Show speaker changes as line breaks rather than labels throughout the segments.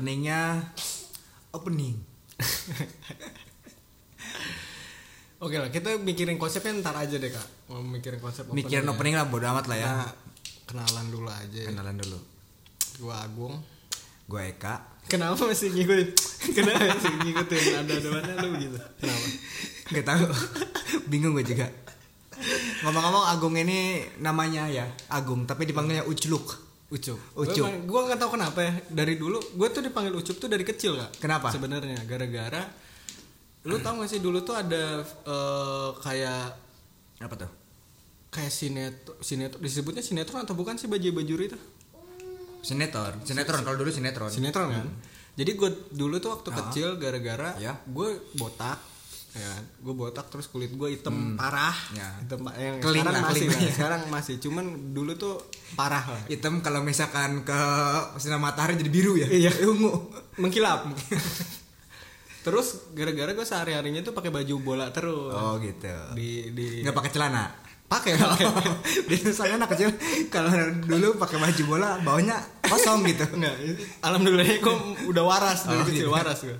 openingnya opening
Oke lah, kita mikirin konsepnya ntar aja deh kak. Mau mikirin konsep
mikirin opening
opening
lah bodo amat lah
ya.
ya
Nah, kenalan dulu aja. ya.
kenalan dulu
Gua Agung.
gue Eka
Kenapa masih ngikutin? Kenapa masih ngikutin ada adanya lu gitu? Kenapa?
Gak tahu, bingung gue juga. Ngomong-ngomong Agung ini namanya ya Agung, tapi dipanggilnya Ucluk.
Ucup.
Ucup.
Gua, gua nggak tahu kenapa ya. Dari dulu, gue tuh dipanggil Ucup tuh dari kecil kak.
Kenapa?
Sebenarnya gara-gara lu tau gak sih dulu tuh ada eh, kayak
Apa tuh?
kayak sinetron sinetron disebutnya sinetron atau bukan sih bajai bajuri itu
Sinetron, sinetron kalau dulu sinetron.
sinetron kan jadi gue dulu tuh waktu kecil gara-gara
Ya.
gue botak ya gue botak terus kulit gue hitam parah
Ya.
hitam pa- yang
Keling
sekarang
lah,
masih
keling.
lah, sekarang masih cuman dulu tuh parah lah
Hitam kalau misalkan ke sinar matahari jadi biru ya.
Iya. ungu. Mengkilap. Terus gara-gara gue sehari-harinya tuh pakai baju bola terus.
Oh gitu.
Di di
Nggak pakai celana.
pakai
Biasanya soalnya anak kecil kalau dulu pakai baju bola bawahnya kosong gitu.
Enggak, alhamdulillah gue udah waras dari
Oh,
kecil
gitu.
waras gue.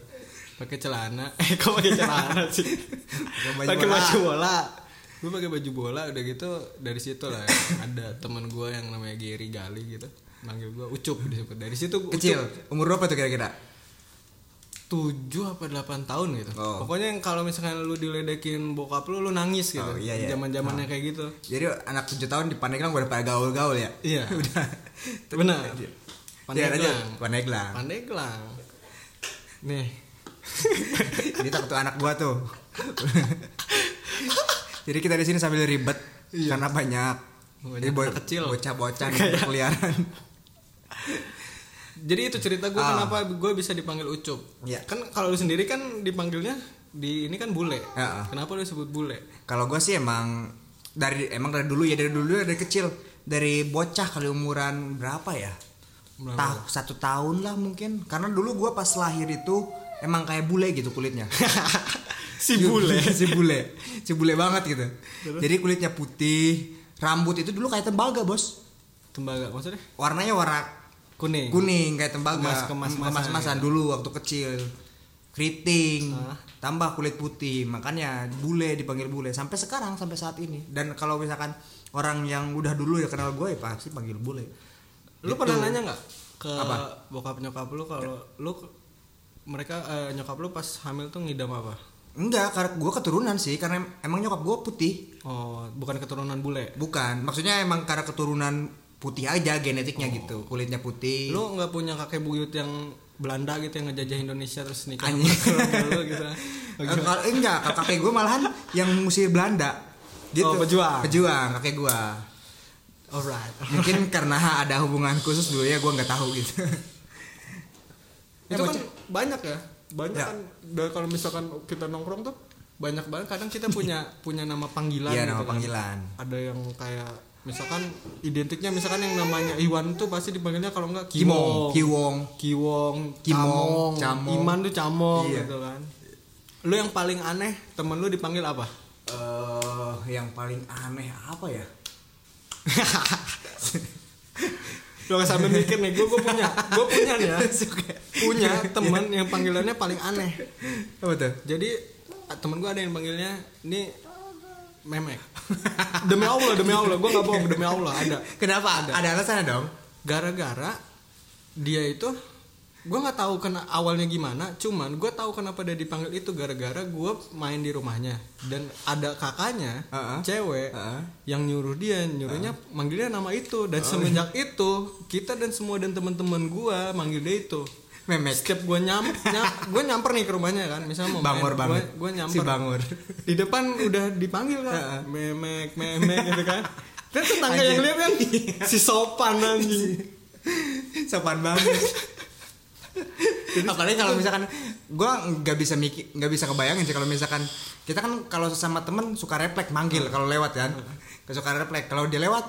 Pakai celana. Eh, kok pakai celana sih?
baju
pakai
bola.
baju bola. Gue pakai baju bola udah gitu dari situ lah ya, ada teman gue yang namanya Gary Gali gitu manggil gue ucup disebut dari situ gua
Kecil, umur berapa tuh kira-kira?
7 apa 8 tahun gitu.
Oh.
Pokoknya yang kalau misalkan lu diledekin bokap lu lu nangis gitu.
Oh, iya, iya.
Zaman-zamannya kayak gitu.
Jadi anak 7 tahun di Pandeglang udah pada gaul-gaul ya.
Iya.
Udah. Iya,
Benar.
aja
Pandeglang.
Pandeglang.
Pandeglang. Nih.
Ini takut tuh anak gua tuh. Jadi kita di sini sambil ribet karena banyak
Iya. Banyak
ini
anak kecil.
bocah-bocah yang berkeliaran.
Jadi itu cerita gue
Ah.
kenapa gue bisa dipanggil Ucup.
Iya.
Kan kalau lu sendiri kan dipanggilnya di ini kan bule.
Ya.
Kenapa lu disebut bule?
Kalau gua sih emang dari emang dari dulu ya dari dulu dari kecil dari bocah kali umuran berapa ya?
Berapa?
Tahu satu tahun lah mungkin karena dulu gua pas lahir itu emang kayak bule gitu kulitnya.
si bule.
si bule si bule banget gitu jadi kulitnya putih rambut itu dulu kayak tembaga bos
Tembaga maksudnya?
warnanya warna
Kuning.
kuning kayak tembaga
Kemas- kemas-masan
kemas-kemasan dulu waktu kecil keriting
Ah.
tambah kulit putih makanya bule dipanggil bule sampai sekarang sampai saat ini dan kalau misalkan orang yang udah dulu ya kenal gue ya pasti panggil bule
Lu pernah nanya nggak ke
Gitu. Apa? Ya.
bokap nyokap lu kalau lu mereka eh, nyokap lu pas hamil tuh ngidam apa?
enggak karena gue keturunan sih karena em- emang nyokap gue putih
Oh, bukan keturunan bule.
bukan maksudnya emang karena keturunan putih aja genetiknya gitu kulitnya putih
Lu nggak punya kakek buyut yang Belanda gitu yang ngejajah Indonesia terus nikah sama
Anjing.
keluarga lu gitu.
Eh, kalau eh, enggak kalau kakek gue malahan yang musir Belanda gitu
Oh, pejuang.
pejuang kakek gue
Alright.
mungkin karena ada hubungan khusus dulu ya gue nggak tahu gitu
Itu kan banyak ya. Banyak
Ya.
kan dari kalau misalkan kita nongkrong tuh banyak banget kadang kita punya punya nama panggilan
iya nama
gitu kan.
panggilan
Ada yang kayak misalkan identiknya misalkan yang namanya Iwan tuh pasti dipanggilnya kalau enggak
Kimong Kiwong
Kiwong,
Kimong,
Camong,
Camong.
Iman tuh Camong
Iya.
gitu kan. Lu yang paling aneh temen lu dipanggil apa?
eh yang paling aneh apa ya
Lu gak sambil mikir nih, gue punya, gue punya nih
Iya.
ya, punya temen yang panggilannya paling aneh.
apa tuh
Jadi temen gue ada yang panggilnya ini memek. Demi Allah, demi Allah, gue gak bohong, demi Allah ada.
kenapa ada ada alasan dong
Gara-gara dia itu gue nggak tahu kena awalnya gimana cuman gue tahu kenapa dia dipanggil itu gara-gara gue main di rumahnya dan ada kakaknya
Heeh.
cewek
Heeh. Oh.
yang nyuruh dia nyuruhnya manggilnya nama itu dan semenjak itu kita dan semua dan teman-teman gue manggil dia itu
memek
setiap gue nyam, nyam gue nyamper nih ke rumahnya kan misalnya mau
bangor
gue
banget si
nyamper
bangor
di depan udah dipanggil kan memek memek gitu kan dan tetangga
Anjing.
yang lihat kan si sopan anjing
sopan banget apalagi kalau misalkan gue nggak bisa mikir nggak bisa kebayangin sih kalau misalkan kita kan kalau sama temen suka refleks manggil kalau lewat kan suka refleks kalau dia lewat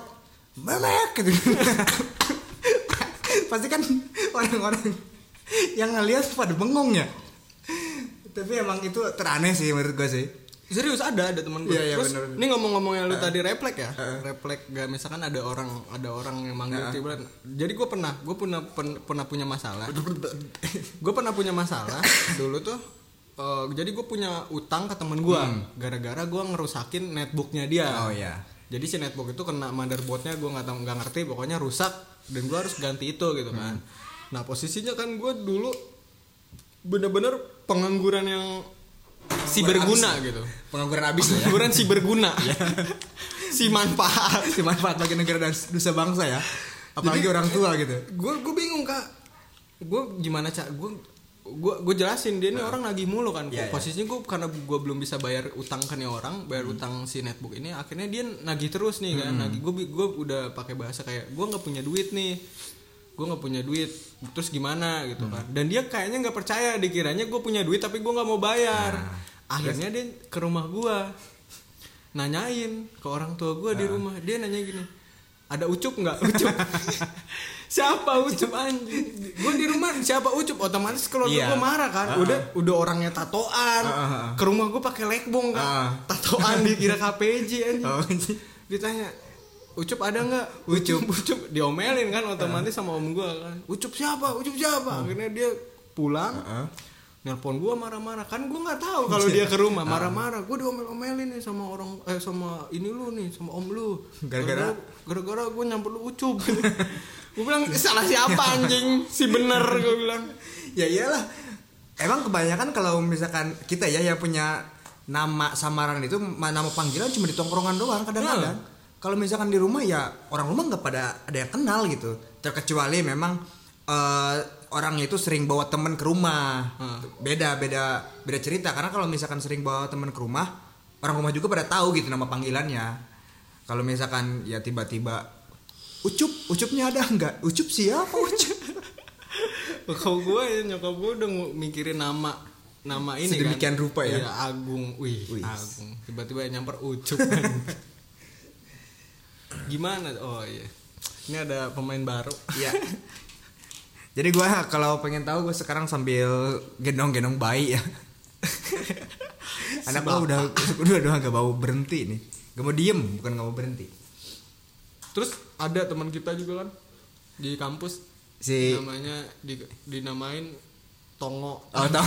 memek gitu pasti kan orang-orang yang ngeliat pada bengong ya tapi emang itu teraneh sih menurut gue sih
Serius ada ada teman gue.
Iya, iya,
Terus
bener, bener.
ini ngomong-ngomongnya lu tadi replek ya.
Heeh.
Replek gak misalkan ada orang ada orang yang manggil tiba-tiba. Jadi gue pernah gue pernah pen- pernah punya masalah. gue pernah punya masalah dulu tuh. eh, jadi gue punya utang ke temen gue. Gara-gara gue ngerusakin netbooknya dia.
Oh iya.
Jadi si netbook itu kena motherboardnya gue nggak tahu nggak ngerti pokoknya rusak dan gue harus ganti itu gitu kan. Nah posisinya kan gue dulu bener-bener pengangguran yang si berguna gitu.
Pengangguran abis lah ya.
Pengangguran si berguna. si manfaat.
Si manfaat bagi negara dan dosa bangsa ya. Apalagi
Jadi-
orang tua gitu.
Gue gue bingung kak. Gue gimana cak? Gue gue gue jelasin dia ini orang nagih mulu
Nah.
kan
Iya, Hmm. iya.
posisinya gue karena gue belum bisa bayar utang ke nih orang bayar utang si netbook ini akhirnya dia nagih terus nih
Hmm.
kan nagih gue gue udah pakai bahasa kayak gue nggak punya duit nih gue nggak punya duit terus gimana
Hmm.
gitu kan dan dia kayaknya nggak percaya dikiranya gue punya duit tapi gue nggak mau bayar
Nah.
akhirnya dia ke rumah gue nanyain ke orang tua gue
Ah.
di rumah dia nanya gini ada ucup nggak ucup siapa ucup anjing gue di rumah siapa ucup otomatis kalau
Iya.
gue marah kan udah udah orangnya tatoan ke rumah gue pakai legbong kan
Ah.
tatoan dikira KPJ anjing
Oh,
ditanya Ucup ada nggak? Ucup, Ucup diomelin kan otomatis sama om gue kan. Ucup siapa? Ucup siapa? Akhirnya dia pulang, nelpon gue marah-marah kan gue nggak tahu kalau dia ke rumah marah-marah. Gue diomel-omelin nih sama orang eh sama ini lu nih sama om lu.
Gara-gara?
gara-gara gue nyamper lu Ucup. gue bilang salah siapa anjing? Si bener gue bilang.
ya iyalah. Emang kebanyakan kalau misalkan kita ya yang punya nama samaran itu ma- nama panggilan cuma di tongkrongan doang kadang-kadang. Kalau misalkan di rumah ya orang rumah nggak pada ada yang kenal gitu. Terkecuali memang eh, orangnya itu sering bawa temen ke rumah. Beda beda beda cerita karena kalau misalkan sering bawa temen ke rumah orang rumah juga pada tahu gitu nama panggilannya. Kalau misalkan ya tiba-tiba Ucup, ucupnya ada nggak? Ucup siapa ucup?
Kalau gue nyokap gue udah ngu- mikirin nama nama ini
Sedemikian
kan.
rupa ya?
Iya, Agung. Wih,
Wih.
Agung. Tiba-tiba nyamper Ucup. kan. Gimana? Oh iya. Ini ada pemain baru.
Iya. Jadi gue kalau pengen tahu gue sekarang sambil gendong-gendong bayi ya. Anak gue udah udah udah gak mau berhenti nih. Gak mau diem bukan gak mau berhenti.
Terus ada teman kita juga kan di kampus
Si
namanya di, dinamain Tongo.
oh tau.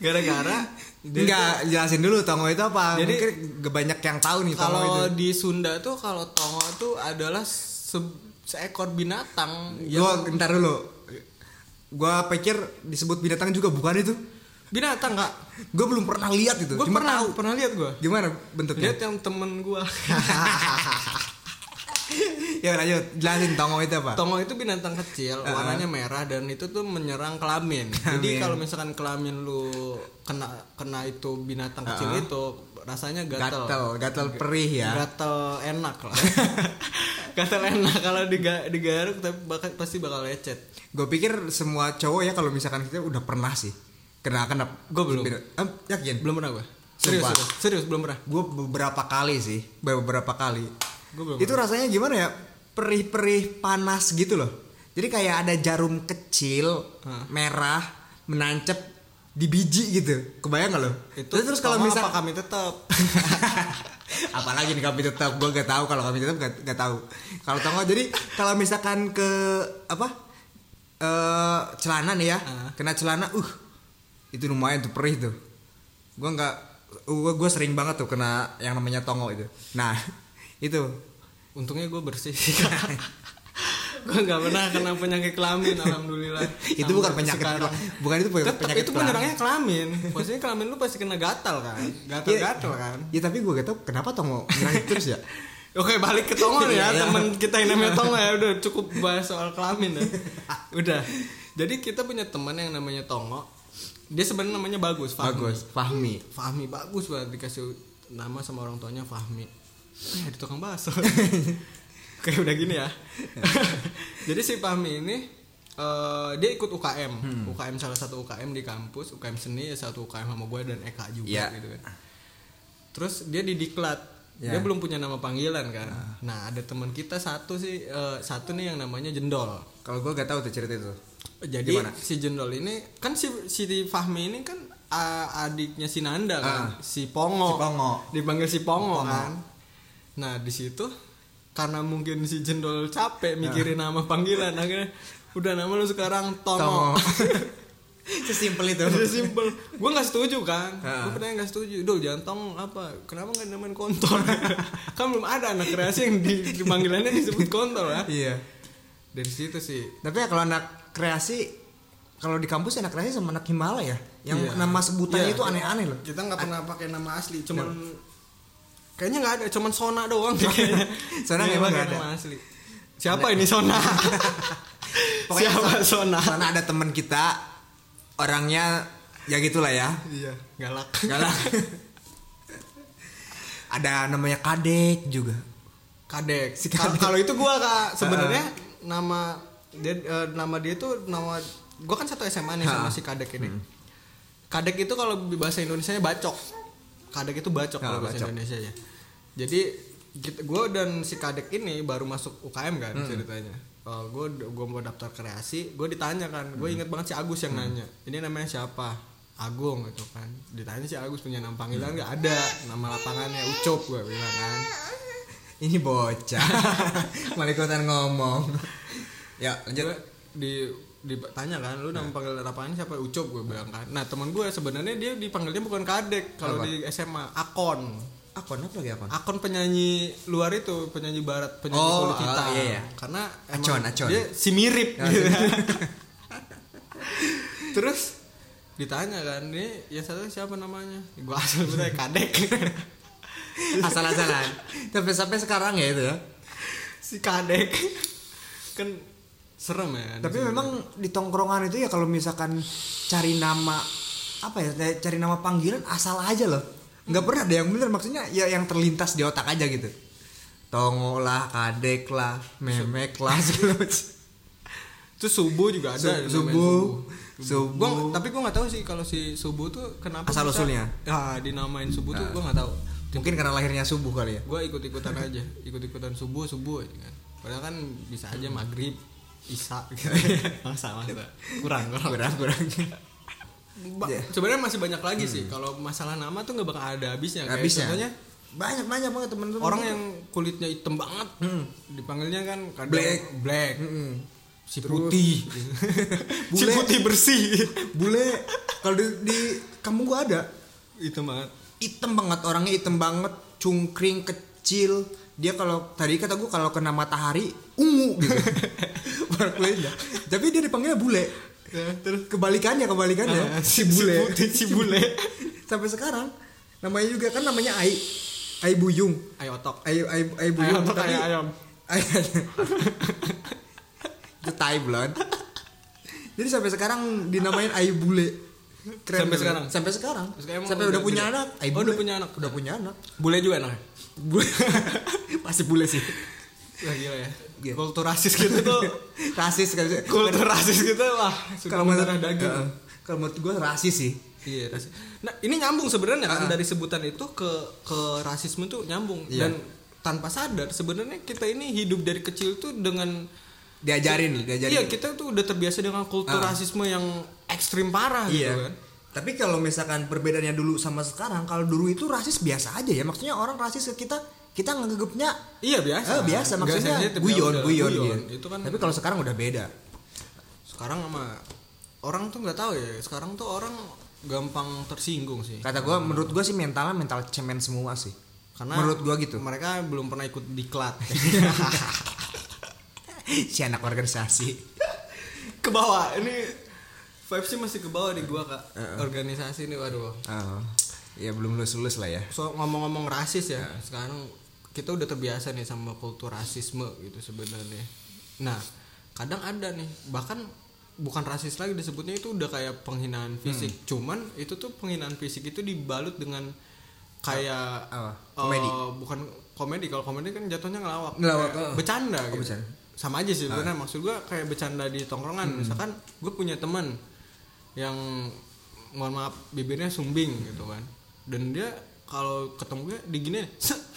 Gara-gara dia-
Enggak jelasin dulu tongo itu apa.
Jadi-
Mungkin gak banyak yang tahu nih tongo itu. ya?
kalau di Sunda tuh kalau Tongo tuh adalah se- seekor binatang
Gue ntar dulu. Gue pikir disebut binatang juga bukan itu.
binatang kak
Gue belum pernah lihat itu.
gue
Cuma
pernah
tahu.
pernah lihat gue
Gimana bentuknya?
lihat yang temen gue
ya lanjut jelasin tongo itu apa.
tongo itu binatang kecil warnanya merah dan itu tuh menyerang kelamin jadi
Kelamin.
kalau misalkan kelamin lu kena kena itu binatang kecil itu rasanya gatel
Gatel, gatel perih ya.
gatel enak lah gatel enak kalau diga- digaruk tapi bakal- pasti bakal lecet
Gue pikir semua cowok ya kalau misalkan kita udah pernah sih kena kena.
Gua belum.
Eh, yakin.
belum pernah gue serius,
Sumpah.
serius serius belum pernah
Gue beberapa kali sih, beberapa kali.
Gua belum
Itu rasanya gimana ya? Perih-perih panas gitu loh. Jadi kayak ada jarum kecil
Hah.
merah menancep di biji gitu. Kebayang gak lo?
itu
terus, terus kalau
misal
misal
kami tetap
apalagi nih kami tetap gue gak tahu kalau kami tetap gak, gak tahu kalau tonggo jadi kalau misalkan ke apa eh celana nih ya
Ah.
kena celana uh itu lumayan tuh perih tuh gue nggak gue gue sering banget tuh kena yang namanya tongo itu nah itu
Untungnya gue bersih. gue nggak pernah kena penyakit kelamin, alhamdulillah.
itu
Sampai
bukan penyakit
sekarang.
bukan itu
Tetep,
penyakit
itu
kelamin.
penyerangnya kelamin. Maksudnya kelamin lu pasti kena gatal kan? Gatal-gatal kan?
ya tapi gue gak tau kenapa tongo nyerang terus ya
Oke balik ke Tongo nih ya
Iya.
teman kita yang namanya Tongo ya udah cukup bahas soal kelamin ya. Udah. Jadi kita punya teman yang namanya Tongo. Dia sebenarnya namanya bagus, Fahmi.
bagus Fahmi
Fahmi bagus banget dikasih nama sama orang tuanya Fahmi. Ya, di tukang bakso. Kayak udah gini ya.
Iya.
Jadi si Fahmi ini eh, dia ikut UKM,
Hmm.
UKM salah satu UKM di kampus, UKM seni ya satu UKM sama gue dan Eka juga
Iya.
gitu kan. Terus dia di diklat, dia
Ya.
belum punya nama panggilan kan.
Ah.
Nah ada teman kita satu sih, eh, satu nih yang namanya Jendol.
kalau gue gak tahu tuh cerita itu
Jadi si Jendol ini kan si si Fahmi ini kan a- adiknya si Nanda
Ah.
kan, si
Si
Pongo.
Pongo.
Dipanggil si Pongo,
Pongo.
kan. Nah, di situ karena mungkin si Jendol capek mikirin nama panggilan akhirnya udah nama lu sekarang Tomo.
Tomo. Sesimpel itu.
Udah simple. Gue nggak setuju kan.
Ah.
Gue pernah nggak setuju. Duh, jantong apa? Kenapa nggak namain kontol? kan belum ada anak kreasi yang di, panggilannya disebut kontol ya.
Iya.
Dari situ sih.
Tapi ya kalau anak kreasi kalau di kampus ya anak kreasi sama anak Himalaya ya. yang
Iya.
nama sebutannya
Iya.
itu aneh-aneh loh.
Kita nggak pernah pakai nama asli. Cuman Nah. kayaknya nggak ada. Cuman Sona doang. kayaknya.
Sona
Iya,
memang
pakai
nggak ada.
nama asli. Siapa ini Sona?
Pokoknya
Siapa Sona?
Karena ada teman kita orangnya ya gitulah ya.
Iya, galak.
Galak. ada namanya Kadek juga.
Kadek.
Si
Kalau-
Kadek. Ah.
Kalau itu gua kak sebenarnya nama dia eh, nama dia tuh nama gua kan satu SMA nih sama
Ha.
si Kadek ini.
Hmm.
Kadek itu kalau di bahasa Indonesia bacok. Kadek itu bacok
Ha,
kalau bahasa
Ah, bacok.
Indonesia ya. Jadi kita, gua dan si Kadek ini baru masuk UKM kan
Hmm.
ceritanya. Eh, gua gua mau daftar kreasi, gua ditanya kan.
Hmm.
Gue inget banget si Agus yang nanya. Ini namanya siapa? Agung gitu kan. Ditanya si Agus punya nama panggilan
Hmm.
nggak ada. Nama lapangannya Ucup gua bilang kan.
Ini bocah. Malah ikutan ngomong. ya, lanjut.
Gua di ditanya kan lu
Nah.
nama panggil lapangan siapa ucup gue bilang kan nah teman gue sebenarnya dia dipanggilnya bukan kadek
Apa?
kalau di SMA akon
Akon apa lagi akon?
akon penyanyi luar itu penyanyi barat penyanyi
Oh,
kulit hitam
ah, iya, iya.
karena
Acon, acon.
dia si mirip
Ya,
gitu. terus ditanya kan ini ya satu siapa namanya gue asal bener kadek
Asal-asalan. Tapi sampai sekarang ya itu ya.
si kadek kan serem ya
Tapi memang di tongkrongan itu ya kalau misalkan cari nama apa ya kayak cari nama panggilan asal aja loh.
Hmm.
Nggak pernah ada yang bener maksudnya ya yang terlintas di otak aja gitu. Tongo lah, kadek lah, memek lah segala macam.
Terus subuh juga ada.
Su-
yang namanya
subuh,
Subuh.
subuh.
Gua nggak- tapi gue nggak tahu sih kalau si subuh tuh kenapa
Asal Ah.
bisa-
usulnya?
Ya dinamain subuh tuh gue nggak tahu.
Mungkin karena lahirnya subuh kali ya.
Gue ikut-ikutan aja, ikut-ikutan subuh subuh aja kan. Padahal kan bisa aja maghrib, isya gitu. masa masa kurang kurang.
Kurang kurang.
Ba-
Iya.
Sebenarnya masih banyak lagi sih kalau masalah nama tuh nggak bakal ada habisnya. Kayak
Habisnya. Hmm.
Contohnya
Banyak banyak banget gitu. temen-temen.
orang yang kulitnya hitam banget dipanggilnya kan kadang
Hmm. Black.
black,
Mm-mm.
si
Terus-
putih, si
Bule.
putih bersih.
bule kalau di, di kamu gua ada
itu banget
hitam banget orangnya hitam banget cungkring kecil dia kalau tadi kata gue kalau kena matahari ungu gitu Orang lainnya. tapi dia dipanggilnya bule terus kebalikannya kebalikannya
Ah, si bule putih si bule
sampai sekarang namanya juga kan namanya ai ai buyung
ayo otok
ai ai ai buyung
Ai otak, ai ayam.
Ai ayam. itu tai blonde jadi sampai sekarang dinamain ai bule Keren
Sampai
juga.
sekarang?
sampai sekarang
Sekarang emang
sampai
udah
udah punya
gede.
anak ai
Oh,
bule.
udah punya anak.
udah punya anak
bule juga nah
bule pasti bule sih
wah gila ya
Gila.
kultur rasis gitu tuh
rasis kan sih.
kultur rasis gitu wah sudah
kalau menurut
mendarah daging
Heeh. kalau menurut gue rasis sih
iya rasis nah ini nyambung sebenarnya kan dari sebutan itu ke ke rasisme tuh nyambung
Iya.
dan tanpa sadar sebenarnya kita ini hidup dari kecil tuh dengan
diajarin diajarin
iya kita tuh udah terbiasa dengan kultur
Ah.
rasisme yang ekstrim parah
Iya.
gitu kan
Tapi kalau misalkan perbedaannya dulu sama sekarang, kalau dulu itu rasis biasa aja ya. Maksudnya orang rasis ke kita, kita nganggepnya
iya biasa
eh, biasa
Nggak
maksudnya
sensitif, ya
guyon,
udah,
guyon, guyon. Iya.
itu kan
Tapi kalau sekarang udah beda.
sekarang sama orang tuh nggak tahu ya sekarang tuh orang gampang tersinggung sih
Kata gua menurut gua sih mentalnya mental cemen semua sih.
karena
menurut gua gitu.
mereka belum pernah ikut diklat
si anak organisasi.
ke bawah ini vibesnya masih ke bawah di gua kak organisasi ini waduh
Oh, ya belum lulus-lulus lah ya.
so ngomong-ngomong rasis ya sekarang kita udah terbiasa nih sama kultur rasisme gitu sebenarnya nah kadang ada nih bahkan bukan rasis lagi disebutnya itu udah kayak penghinaan fisik cuman itu tuh penghinaan fisik itu dibalut dengan kayak
Apa?
eh,
Komedi?
bukan komedi kalau komedi kan jatuhnya ngelawak,
Ngelawak,
Kayak
oh.
bercanda
Oh,
gitu
bercanda. Ah. Hmm.
sama aja sih sebenarnya maksud gua kayak bercanda di tongkrongan misalkan gue punya teman yang mohon maaf bibirnya sumbing gitu kan dan dia kalau ketemu gue digini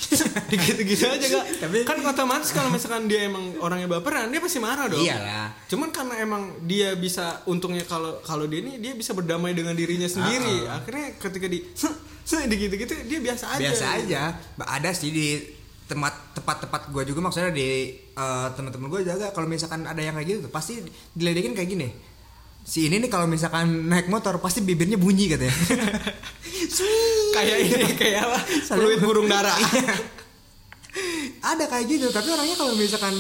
digitu gitu aja gak
Tapi-
kan otomatis kalau misalkan dia emang orangnya baperan dia pasti marah dong
Iyalah.
cuman karena emang dia bisa untungnya kalau kalau dia ini dia bisa berdamai dengan dirinya sendiri
Ah,
akhirnya ketika di digitu gitu dia biasa aja
biasa aja Ba- ada sih di tempat tempat-tempat gue juga maksudnya di eh, teman-teman gue jaga kalau misalkan ada yang kayak gitu tuh, pasti diledekin kayak gini si ini nih kalau misalkan naik motor pasti bibirnya bunyi katanya Swing.
kayak ini kayak apa
Salah.
fluid burung dara
Iya. ada kayak gitu tapi orangnya kalau misalkan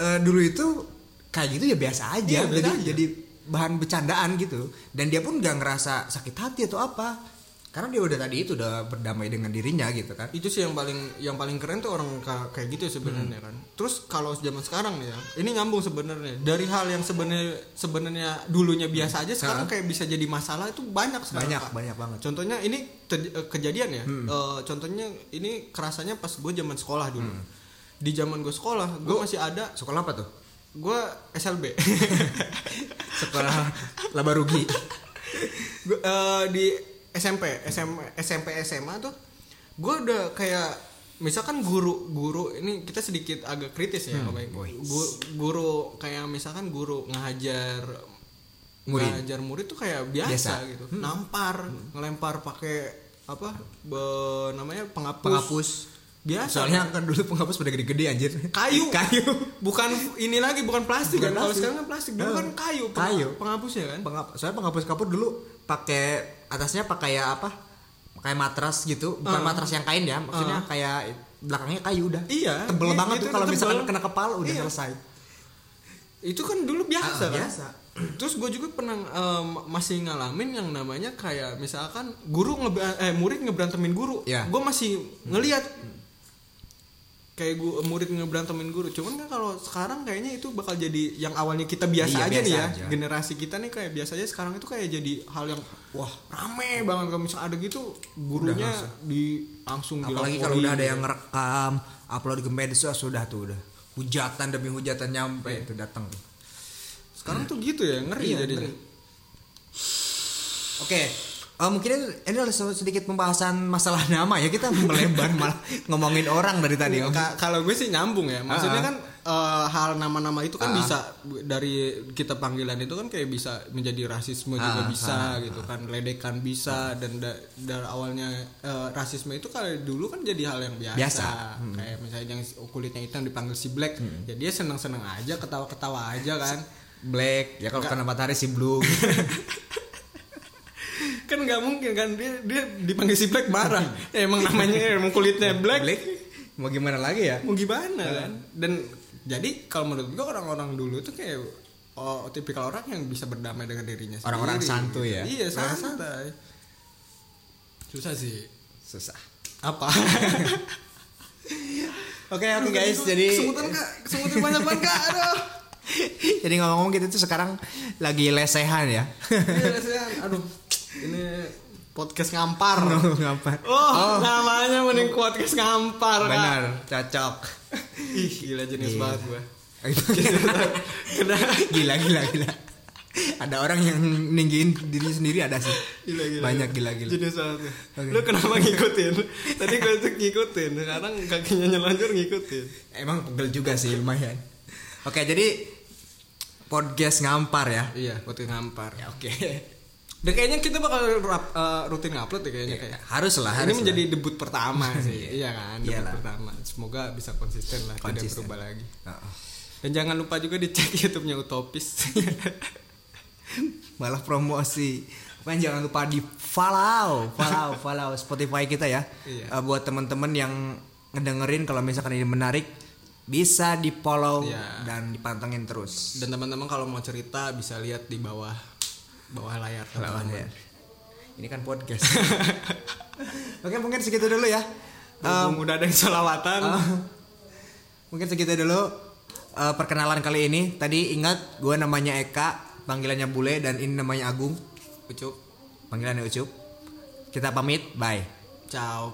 eh, dulu itu kayak gitu ya biasa aja
Iya, biasa
jadi
aja.
jadi bahan bercandaan gitu dan dia pun gak ngerasa sakit hati atau apa karena dia udah tadi itu udah berdamai dengan dirinya gitu kan
itu sih yang paling yang paling keren tuh orang ka- kayak gitu
Hmm.
sebenarnya kan terus kalau zaman sekarang nih ya ini nyambung sebenarnya dari hal yang sebenarnya sebenarnya dulunya biasa aja sekarang
Ha.
kayak bisa jadi masalah itu banyak sekarang
Hmm. banyak Hmm.
Kak.
banyak banget
contohnya ini te- eh, kejadian ya Eh, contohnya ini kerasanya pas gue zaman sekolah dulu
Hmm.
di zaman gue sekolah gue masih ada
sekolah apa tuh
gue SLB
sekolah laba rugi
Gua- eh, di SMP SM, SMP SMA tuh gue udah kayak misalkan guru guru ini kita sedikit agak kritis ya Om Baik.
boy.
Gu- guru kayak misalkan guru ngajar
Murid.
ngajar murid tuh kayak biasa,
Biasa. Hmm.
gitu nampar ngelempar pakai apa be- namanya penghapus
penghapus
biasa
soalnya kan dulu penghapus udah gede-gede anjir
kayu
kayu
bukan ini lagi bukan plastik
Bukan
kan kalau
plastik.
sekarang kan plastik dulu
Hmm.
kan kayu
Kayu.
penghapusnya kan
Penghap- soalnya penghapus kapur dulu pakai atasnya pakai kayak apa kayak matras gitu bukan
Ah.
matras yang kain ya maksudnya
Ah.
kayak belakangnya kayu udah
Iya,
tebel
gitu-
banget
gitu
tuh kalau
tebel.
misalkan kena kepala udah
Iya.
selesai
itu kan dulu biasa
Ah,
kan
biasa.
terus gue juga pernah em, masih ngalamin yang namanya kayak misalkan guru ngebe- eh murid ngeberantemin guru
Iya.
gue masih ngelihat
Hmm.
kayak gue murid ngeberantemin guru cuman kan kalau sekarang kayaknya itu bakal jadi yang awalnya kita biasa
Iya,
aja
biasa
nih ya
aja.
generasi kita nih kayak biasa aja sekarang itu kayak jadi hal yang wah rame
Hmm.
banget kalau misalnya ada gitu gurunya
langsung.
di langsung
apalagi
dilaporin. gitu.
kalau udah ada yang ngerekam upload ke medsos sudah tuh udah hujatan demi hujatan nyampe itu datang
sekarang tuh gitu ya ngeri
Iya,
jadinya
ngeri. Oke, eh, mungkin ini- ini adalah se- sedikit pembahasan masalah nama ya kita melebar malah ngomongin orang dari tadi. Om.
Ka- kalau gue sih nyambung ya
Iya,
maksudnya
Ah.
kan eh, hal nama-nama itu kan
Ah.
bisa dari kita panggilan itu kan kayak bisa menjadi rasisme
Ah,
juga bisa gitu kan ledekan bisa dan da- dari awalnya eh, rasisme itu kalau dulu kan jadi hal yang biasa, Hmm.
Biasa. Hmm.
kayak misalnya yang kulitnya hitam dipanggil si black ya dia seneng-seneng aja ketawa-ketawa aja kan
Black ya kalau kena matahari si blue.
kan nggak mungkin kan dia dia dipanggil si black marah Ya, emang namanya emang kulitnya black
Black mau gimana lagi ya?
mau gimana kan dan jadi kalau menurut gue orang-orang dulu tuh kayak oh, tipikal orang yang bisa berdamai dengan dirinya sendiri
Orang-orang santuy ya?
iya
Orang
santai susah sih
Susah.
apa
Oke oke guys jadi
kesemutan kak kesemutan banyak banget kak aduh
jadi ngomong-ngomong kita tuh sekarang lagi lesehan ya.
Iya, kasihan. aduh ini podcast ngampar
Ngapa? Oh,
oh, namanya mending podcast ngampar kak
Benar cocok.
ih gila jenius
Iya.
banget gue
gila gila gila. Ada orang yang ninggiin diri sendiri ada sih.
Gila, gila,
Banyak gila gila.
Jenis banget.
Oke.
Lu kenapa ngikutin? Tadi gue tuh ngikutin, sekarang kakinya nyelanjur ngikutin.
Emang pegel juga sih lumayan. Oke, jadi podcast ngampar ya.
Iya, buat ngampar.
Ya, Oke.
Dan kayaknya kita bakal rap- eh, rutin ngupload ya kayaknya kayak.
Haruslah,
Ini
haruslah.
menjadi debut pertama sih. iya kan, debut
Iyalah.
pertama. Semoga bisa konsisten lah, tidak
Konsisten.
berubah lagi.
Heeh.
Dan jangan lupa juga dicek YouTube-nya Utopis.
Malah promosi. Kan jangan lupa di follow, follow, follow Spotify kita ya.
Iya.
Eh, buat teman-teman yang ngedengerin kalau misalkan ini menarik bisa di follow
Iya.
dan dipantengin terus.
Dan teman-teman kalau mau cerita bisa lihat di bawah bawah layar.
Lawan
teman-teman.
ya. Ini kan podcast. Oke, mungkin segitu dulu ya.
Berhubung udah ada yang solawatan.
Mungkin segitu dulu eh, perkenalan kali ini. Tadi ingat gue namanya Eka, panggilannya Bule dan ini namanya Agung,
Ucup,
panggilannya Ucup. Kita pamit, bye.
ciao.